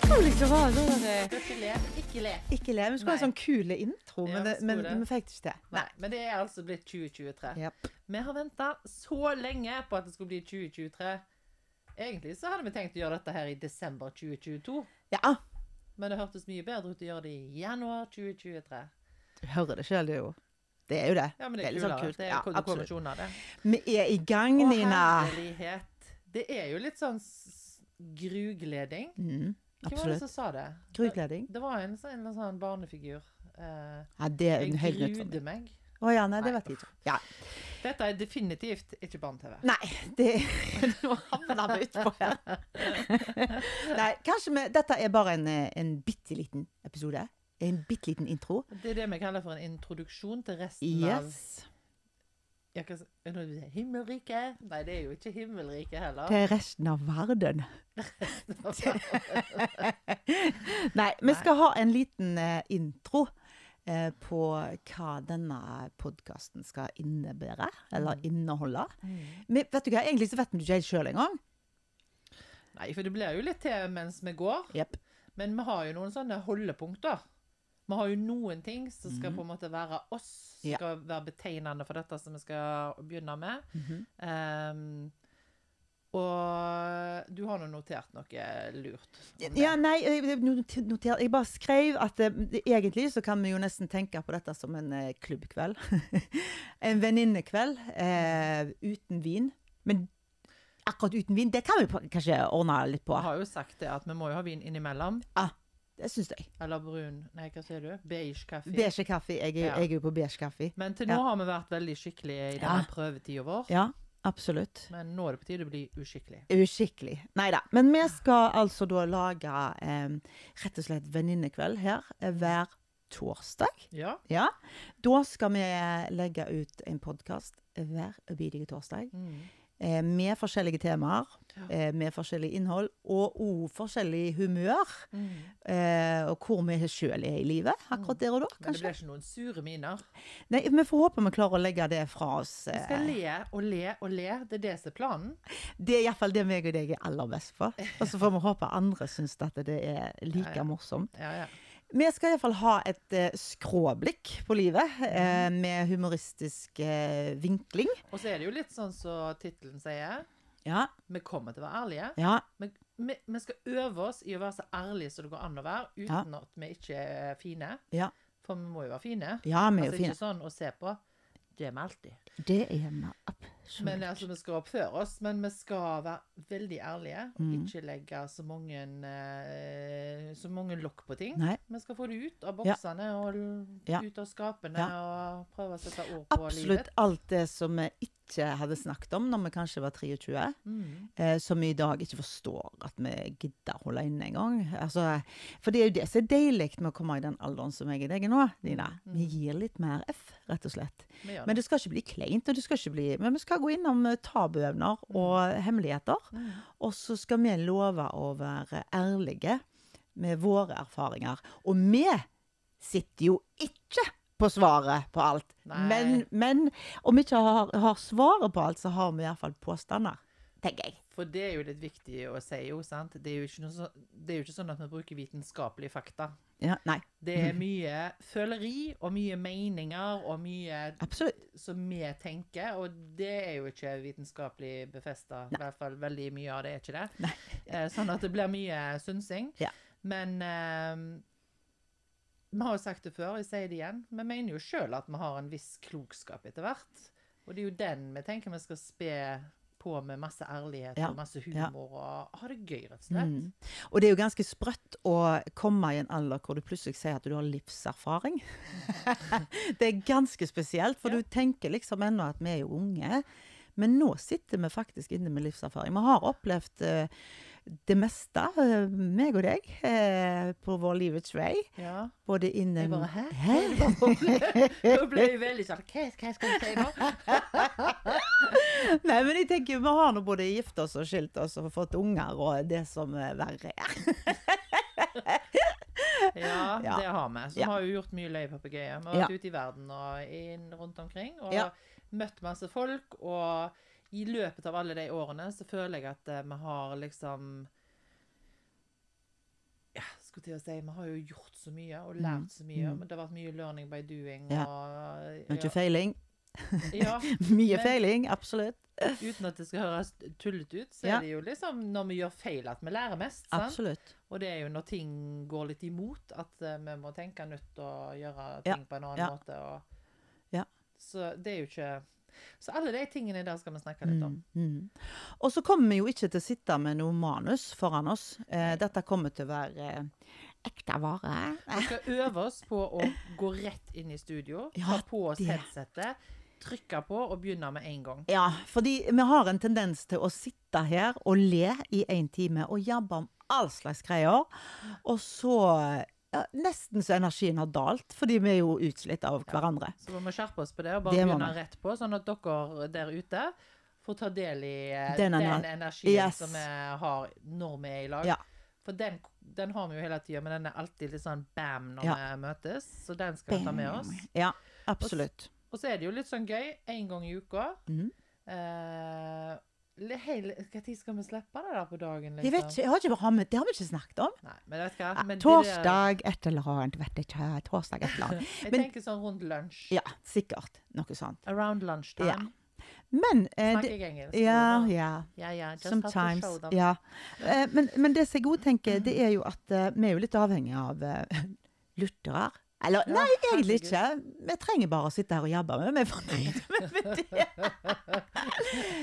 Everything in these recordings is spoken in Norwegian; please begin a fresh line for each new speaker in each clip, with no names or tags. var sånn der,
Ikke le. Ikke le.
Ikke le. Vi skulle ha en
eh? Nei.
sånn kule intro,
Ja,
men, det,
vi
men
skulle det.
vi fikk det ikke til.
Nei, men det er altså blitt 2023.
Japp.
Vi har venta så lenge på at det skulle bli 2023. Egentlig så hadde vi tenkt å gjøre dette her i desember 2022,
Ja.
men det hørtes mye bedre ut å gjøre det i januar 2023.
Du hører det sjøl, du jo. Det er jo det.
Ja, men det er,
litt
kulere.
sånn kult.
Det er
Ja,
kon-
absolutt.
kombinasjonen av det.
Vi er i gang,
Å,
Nina.
herlighet. Det er jo litt sånn s- grugleding.
Mm,
Hvem var det
absolutt.
som sa det?
Grugleding.
Det var en, sånn- en eller annen sånn barnefigur. Eh,
Ja, det er
jeg
en helt nytt for meg.
gruder meg.
Å ja, nei, det
Nei.
vet jeg ikke. Ja.
Dette er definitivt ikke barne-TV.
Nei, det Nå havna vi utpå her. Nei, kanskje vi Dette er bare en, eh, en bitte liten episode. En bitte liten intro.
Det er det vi kaller for en introduksjon til resten av
Yes.
Jeg kan, s- nå vil jeg si Himmelriket? Nei, det er jo ikke himmelriket heller.
Til resten av verden. Nei, vi skal ha en liten eh, intro eh, på hva denne podkasten skal innebære, eller inneholde. Men vet du hva, egentlig så vet vi det ikke helt sjøl engang.
Nei, for det blir jo litt til mens vi går.
Jepp.
Men vi har jo noen sånne holdepunkter. Vi har jo noen ting som skal på en måte være oss, som
Mhm. Ja.
skal være betegnende for dette som vi skal begynne med.
Mhm.
Ehm, og du har nå notert noe lurt. om det.
Ja, nei, jeg, jeg noter- noter- jeg bare skrev at eh, det- egentlig så kan vi jo nesten tenke på dette som en eh, klubbkveld. en venninnekveld eh, uten vin. Men akkurat uten vin, det kan vi på- kanskje ordne litt på.
Jeg har jo sagt det at vi må jo ha vin innimellom.
Det syns jeg.
Eller brun Nei, hva sier du? Beige kaffe.
Beige kaffe. Jeg, er-
Ja.
jeg er jo på beige kaffe.
Men til nå
Ja.
har vi vært veldig skikkelige
Ja.
i denne prøvetida vår.
Ja, absolutt.
Men nå er det på tide å bli uskikkelig.
Uskikkelig. Nei da. Men vi skal altså da lage eh, rett og slett venninnekveld her eh, hver torsdag.
Ja.
Ja. Da skal vi eh, legge ut en podkast hver bidige torsdag.
Mm.
Eh, med forskjellige temaer,
Ja.
eh, med forskjellig innhold, og òg forskjellig humør.
Mm.
Eh, og hvor vi sjøl er i livet akkurat der og da,
Men det
kanskje.
blir ikke noen sure miner.
Nei, vi får håpe vi klarer å legge det fra oss.
Vi
eh,
skal le og le og le. Det er det som er planen.
Det er iallfall det meg og deg er aller best for. Og så får vi håpe andre syns at det er like
Ja, ja.
morsomt.
Ja, ja.
Vi skal iallfall ha et eh, skråblikk på livet, eh, med humoristisk eh, vinkling.
Og så er det jo litt sånn som så tittelen sier.
Ja,
Vi kommer til å være ærlige.
ja,
Vi, vi, vi skal øve oss i å være så ærlige som det går an å være,
Ja.
uten at vi ikke er fine.
Ja.
For vi må jo være fine.
ja vi er jo
altså,
fine.
Ikke sånn å se på. Det er vi alltid.
Det er vi absolutt.
Men altså, Vi skal oppføre oss, men vi skal være veldig ærlige. Og
Mhm.
ikke legge så mange, eh, så mange lokk på ting.
Nei.
Vi skal få det ut av
Ja.
boksene og l-
Ja.
ut av skapene og prøve å sette ord på
Absolutt
livet.
alt det som vi ikke hadde snakket om når vi kanskje var 23,
Mm.
eh, som vi i dag ikke forstår at vi gidder holde inne engang. Altså, for det er jo det som er deilig med å komme i den alderen som jeg er i deg i nå, Nina. Vi gir litt mer F, rett og slett.
Vi gjør
Men
det.
det skal ikke bli kleint, og det skal ikke bli, men vi skal gå innom eh, tabuevner og eh, hemmeligheter.
Mm.
Og så skal vi love å være ærlige med våre erfaringer. Og vi sitter jo ikke på svaret på alt.
Nei.
Men, men om vi ikke har, har svaret på alt, så har vi iallfall påstander, tenker jeg.
For det er jo litt viktig å si jo, sant. Det er jo ikke, noe så, det er jo ikke sånn at vi bruker vitenskapelige fakta.
Ja, nei,
Det
Mm.
er mye føleri og mye meninger og mye
absolutt.
som vi tenker, og det er jo ikke vitenskapelig befesta. I hvert fall veldig mye av det er ikke det. Eh, Sånn at det blir mye synsing.
Ja.
Men eh, vi har jo sagt det før, jeg sier det igjen, vi mener jo sjøl at vi har en viss klokskap etter hvert. Og det er jo den vi tenker vi skal spe på med masse ærlighet
Ja.
og masse
Ja.
humor og ha det gøy, rett og slett.
Mm. Og det er jo ganske sprøtt å komme i en alder hvor du plutselig sier at du har livserfaring. det er ganske spesielt, for
Ja.
du tenker liksom ennå at vi er jo unge. Men nå sitter vi faktisk inne med livserfaring. Vi har opplevd eh, det meste, eh, meg og deg, eh, på vår livets vei.
Ja.
Både innen
Jeg bare Hæ?
Hæ?
Nå ble jeg veldig sånn Hva hva skal jeg si nå?
Nei, men jeg tenker vi har nå både gift oss og skilt oss og fått unger og det som er verre er.
Ja,
Ja.
det har vi. Så
Ja.
vi har jo gjort mye løy på papegøye. Vi har vært ute i verden og inn rundt omkring og
Ja.
møtt masse folk. Og i løpet av alle de årene så føler jeg at eh, vi har liksom ja, skulle til å si, Vi har jo gjort så mye og lært så mye. men Det har vært mye 'learning by doing'.
Mm. Ja.
Og,
Mye feiling.
ja,
Mye
Men-
feiling, absolutt.
Uten at det skal høres tullete ut, så
Ja.
er det jo liksom når vi gjør feil, at vi lærer mest. Sant?
Absolutt.
Og det er jo når ting går litt imot, at eh, vi må tenke nytt og gjøre
Ja,
ting på en annen
ja.
måte. Og...
Ja.
Så det er jo ikke Så alle de tingene der skal vi snakke litt om.
Mm, mm. Og så kommer vi jo ikke til å sitte med noe manus foran oss. Eh, dette kommer til å være eh, ekte vare.
Vi skal øve oss på å gå rett inn i studio,
Ja,
ta på oss
det.
headsetet, trykke på og begynne med en gang.
Ja, fordi vi har en tendens til å sitte her og le i én time og jabbe om all slags greier. Og så ja, Nesten så energien har dalt, fordi vi er jo utslitt av hverandre.
Så vi må skjerpe oss på det og bare
Det må
begynne
vi.
rett på, sånn at dere der ute får ta del i eh,
Den
den,
ener-
energien
Yes.
som vi har når vi er i lag.
Ja.
For den, den har vi jo hele tida, men den er alltid litt sånn bam når
Ja.
vi møtes. Så den skal vi ta med oss.
Ja, absolutt.
Og så er det jo litt sånn gøy én gang i uka.
Mhm.
Eh, le- hele- Hva tid skal vi slippe det der på dagen? liksom?
Jeg vet ikke, jeg har ikke, har vi- det har vi ikke snakket om.
Nei, men vet du eh, hva? Men de der-
Torsdag et eller annet, vet jeg ikke. Torsdag et eller annet.
Jeg
men-
tenker sånn rundt lunsj.
Ja, sikkert. Noe sånt.
Around lunchtime.
Ja. Men eh,
Snakker
det,
jeg engelsk?
Ja,
Oda?
ja.
ja, ja. Just have
Sometimes.
to show them.
Ja. Eh, men, men det som jeg òg tenker,
Mm.
det er jo at eh, vi er jo litt avhengig av eh, lyttere. Eller
Ja,
nei, egentlig
herregud.
ikke. Vi trenger bare å sitte her og jabbe med. Vi er fornøyde med det.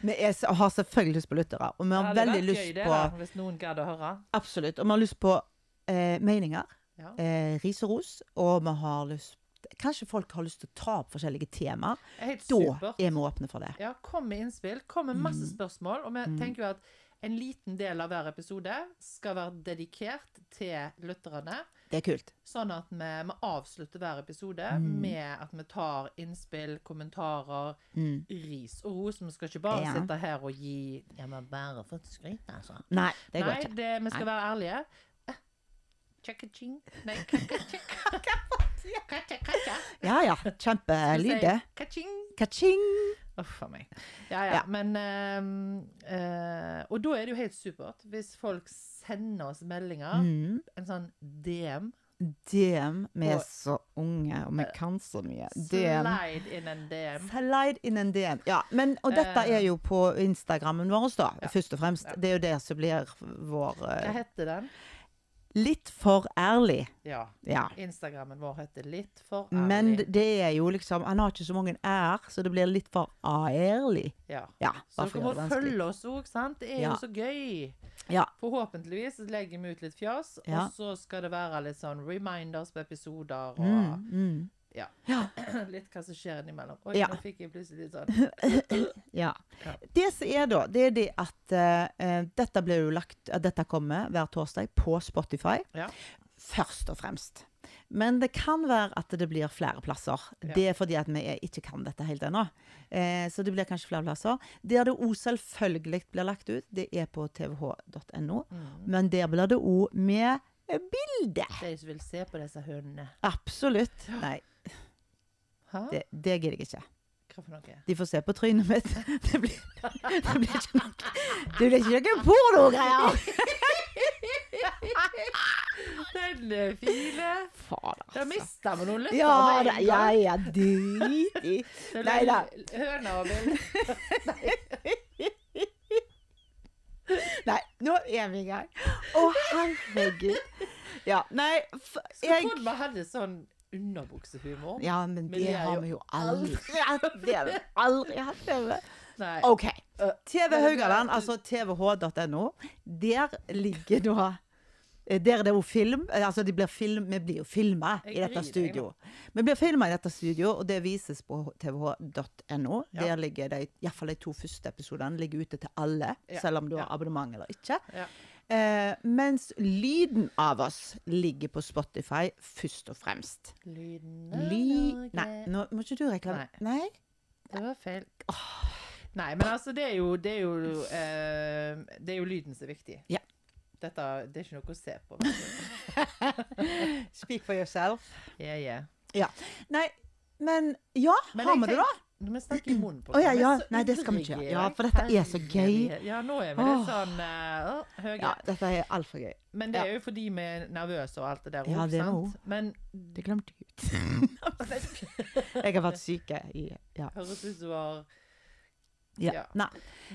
Vi er, s- har selvfølgelig lyst på lyttere, og vi
Ja,
har
det hadde
veldig
vært
lyst
gøy det,
på
da, Hvis noen gadd å høre.
Absolutt. Og vi har lyst på eh, meninger.
Ja.
Eh, ris og ros. Og vi har lyst Kanskje folk har lyst til å ta opp forskjellige temaer.
Helt
Da
supert.
er Mm. vi åpne for det.
Ja, kom med innspill. Kom med masse spørsmål. Og vi tenker jo at en liten del av hver episode skal være dedikert til lytterne.
Det er kult.
Sånn at vi, vi avslutter hver episode med at vi tar innspill, kommentarer,
Mm.
ris og ros. Vi skal ikke bare
Ja.
sitte her og gi Ja, men bare for skryt, altså.
Nei, det går
Nei,
ikke.
det, vi skal være ærlige. Eh, Tjekka-tjing Nei, ka-ka-tjing. Ka-tja-ka-tja.
Ja ja.
Skal vi si
Kjempelyd, det.
Ka-tjing.
Kaching!
Uff a meg. Ja, ja.
Ja.
Men eh, eh, Og da er det jo helt supert hvis folk sender oss meldinger.
Mm.
En sånn DM.
DM. Vi er
Og- Eh,
så unge, og vi kan så mye. DM.
Slide in en DM.
Slide in en DM. Ja, men, og dette
Eh.
er jo på Instagrammen vår, da, først og fremst.
Ja.
Det er jo det som blir vår
Hva
eh,
heter den?
Litt for ærlig.
Ja.
Ja.
Instagrammen vår heter Litt for ærlig.
Men det er jo liksom Han har ikke så mange r, så det blir litt for ærlig.
ja.
Ja,
Så
bare for å
dere
gjøre
må
det vanskelig.
følge oss òg, sant? Det er
Ja.
jo så gøy.
Ja.
Forhåpentligvis legger vi ut litt fjas,
Ja.
og så skal det være litt sånn reminders på episoder og
Mm, mm.
ja. litt hva som skjer innimellom. Oi,
Ja.
nå fikk jeg plutselig litt sånn
Ja.
Ja.
Det som er da, det er det at eh, dette blir jo lagt, at dette kommer hver torsdag på Spotify.
Ja.
Først og fremst. Men det kan være at det blir flere plasser.
Ja.
Det er fordi at vi er- ikke kan dette helt ennå. Eh, så det blir kanskje flere plasser. Der det òg selvfølgelig blir lagt ut, det er på tvh.no.
Mm.
Men der blir det òg med eh, bilde.
De som vil se på disse hundene.
Absolutt. Nei,
Hæ?
det, det gidder jeg ikke.
Hva for noe?
De får se på trynet mitt. Det blir, det blir ikke noe Det blir ikke noe pornogreier!
Denne fine!
Fader,
Da
altså.
mista vi noen lyttere.
Ja
med
da,
en
ja
gang.
ja, drit i.
Det
Nei da.
ble Høna og bill.
Nei, nå er vi i gang. Å, herregud. Ja, nei f
Skulle
jeg,
trodd vi hadde sånn underbuksehumor.
Ja, men
Men
det
jeg
har
jo
vi jo aldri hatt. Det har vi aldri hatt. Eve.
Nei.
OK.
Øh,
TV Eh,
men det-
Haugaland, altså tvh.no, der ligger da der er det jo film, eh, altså de blir film, vi blir jo filma i
Jeg
dette
griner,
studio. Vi blir filma i dette studio, og det vises på tvh.no.
Ja.
Der ligger de, iallfall de to første episodene ligger ute til alle,
Ja,
selv om du
ja.
har abonnement eller ikke.
Ja.
Eh, mens lyden av oss ligger på Spotify først og fremst.
Lyden av
Ly...
Norge.
Nei, nå må ikke du reklame... Nei?
Det var feil. Nei, men altså, det er jo Det er jo, eh, det er jo lyden som er viktig.
Ja.
Dette, det er ikke noe å se på. men-
Speak for yourself.
Yeah, yeah.
Ja. Nei, men ja,
Men
har
jeg
vi det,
tenk-
da?
Når vi snakker i munnen på
Å, ja,
hverandre,
ja.
så
Nei, det skal vi ikke
ivrige
gjøre.
jeg.
Ja, for dette er så gøy.
Herlighet. Ja, nå er vi litt
Åh.
sånn eh, åh, høye.
Ja, dette er altfor gøy.
Men det er jo fordi vi er nervøse og alt det der
Ja,
også,
det er
sant? Men
Det glemte jeg ut. Jeg har vært syk i Ja.
høres ut som var
ja.
Ja.
Nei.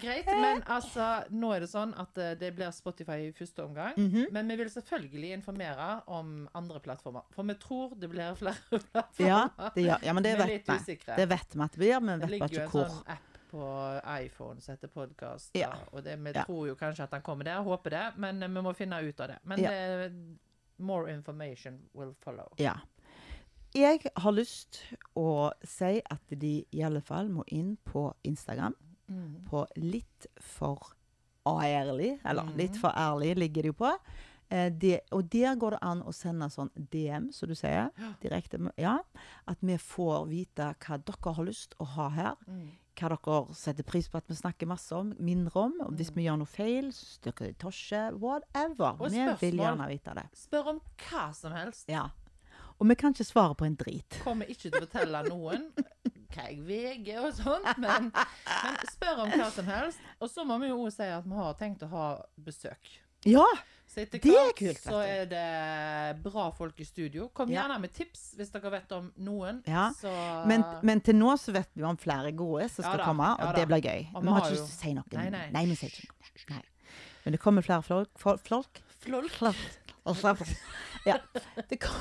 greit.
Eh.
Men altså, nå er det sånn at eh, det blir Spotify i første omgang.
Mhm.
Men vi vil selvfølgelig informere om andre plattformer. For vi tror det blir flere plattformer.
Ja, det, ja. ja, men det
vi er
vet
litt
vi.
usikre.
Det vet vi at det blir, men
Det
vi vet
ligger
bare
jo
ikke
en
hvor.
sånn app på iPhone som heter Podkast.
Ja.
Og det, vi
Ja.
tror jo kanskje at den kommer der, håper det, men eh, vi må finne ut av det. Men
Ja.
eh, more information will follow.
Ja. Jeg har lyst å si at de i alle fall må inn på Instagram.
Mhm.
På litt for ærlig, eller
Mhm.
litt for ærlig ligger det jo på. Eh, det, og der går det an å sende sånn DM, som du sier. Direkte. med- Ja. At vi får vite hva dere har lyst å ha her.
Mhm.
hva dere setter pris på at vi snakker masse om, mindre om. Og hvis vi gjør noe feil, syns dere det er tosje, whatever.
Og
Vi vil
spørsmål.
gjerne vite det.
Spør om hva som helst.
Ja. Og vi kan ikke svare på en drit.
Kommer ikke til å fortelle noen hva jeg veger og sånt, men, men spør om hva som helst. Og så må vi jo også si at vi har tenkt å ha besøk.
Ja!
Så etter
Det er
hvert
kult, vet
så
du.
er det bra folk i studio. Kom
Ja.
gjerne med tips hvis dere vet om noen.
Ja,
Så
Men, men til nå så vet vi om flere gode som
Ah. Ja
skal
da,
komme, og
ja
det
da.
blir gøy.
Og
Vi har ikke lyst til å si noe.
Nei, nei.
vi sier ikke noe. Nei. Men det kommer flere folk. Folk? folk.
Flolk,
Og så- Ja. Det kom,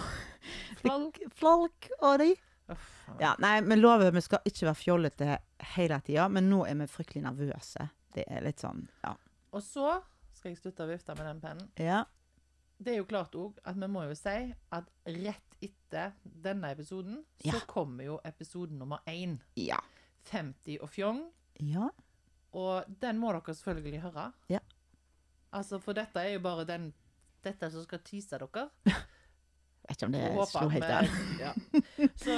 flolk.
folk og de.
Uff, faen.
Ja, nei, men lover vi skal ikke være fjollete hele tida, men nå er vi fryktelig nervøse. Det er litt sånn, ja.
Og så skal jeg slutte å vifte med den pennen.
ja.
Det er jo klart òg at vi må jo si at rett etter denne episoden,
Ja.
så kommer jo episode nummer én.
Ja.
50 og fjong.
Ja.
Og den må dere selvfølgelig høre.
Ja.
Altså, for dette er jo bare den dette som skal tease dere.
Vet ikke om
Og
det
håper
slo
at
helt
vi-
an.
ja. Så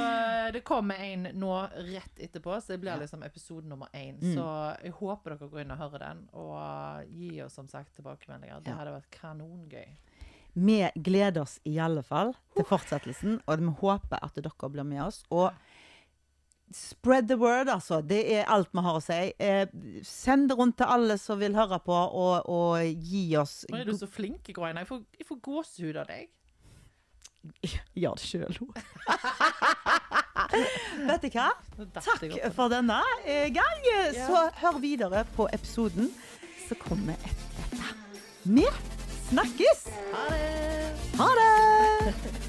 eh, det kommer en nå rett etterpå, så det blir
Ja.
liksom episode nummer én.
Mm.
Så jeg håper dere går inn og hører den, og gir oss som sagt tilbakemeldinger. Det
Ja.
hadde vært kanongøy.
Vi gleder oss i alle fall til fortsettelsen, og vi håper at dere blir med oss. Og spread the word, altså. Det er alt vi har å si. Eh, send det rundt til alle som vil høre på, og, og gi oss
Nå er du så flink, Graina. Jeg får, jeg får gåsehud av deg.
Gjør det sjøl, hun. Vet du hva?
Nå datt jeg
Takk
opp på den.
for denne eh, gang.
Ja.
Så hør videre på episoden som kommer etter dette. Vi snakkes!
Ha det!
Ha det!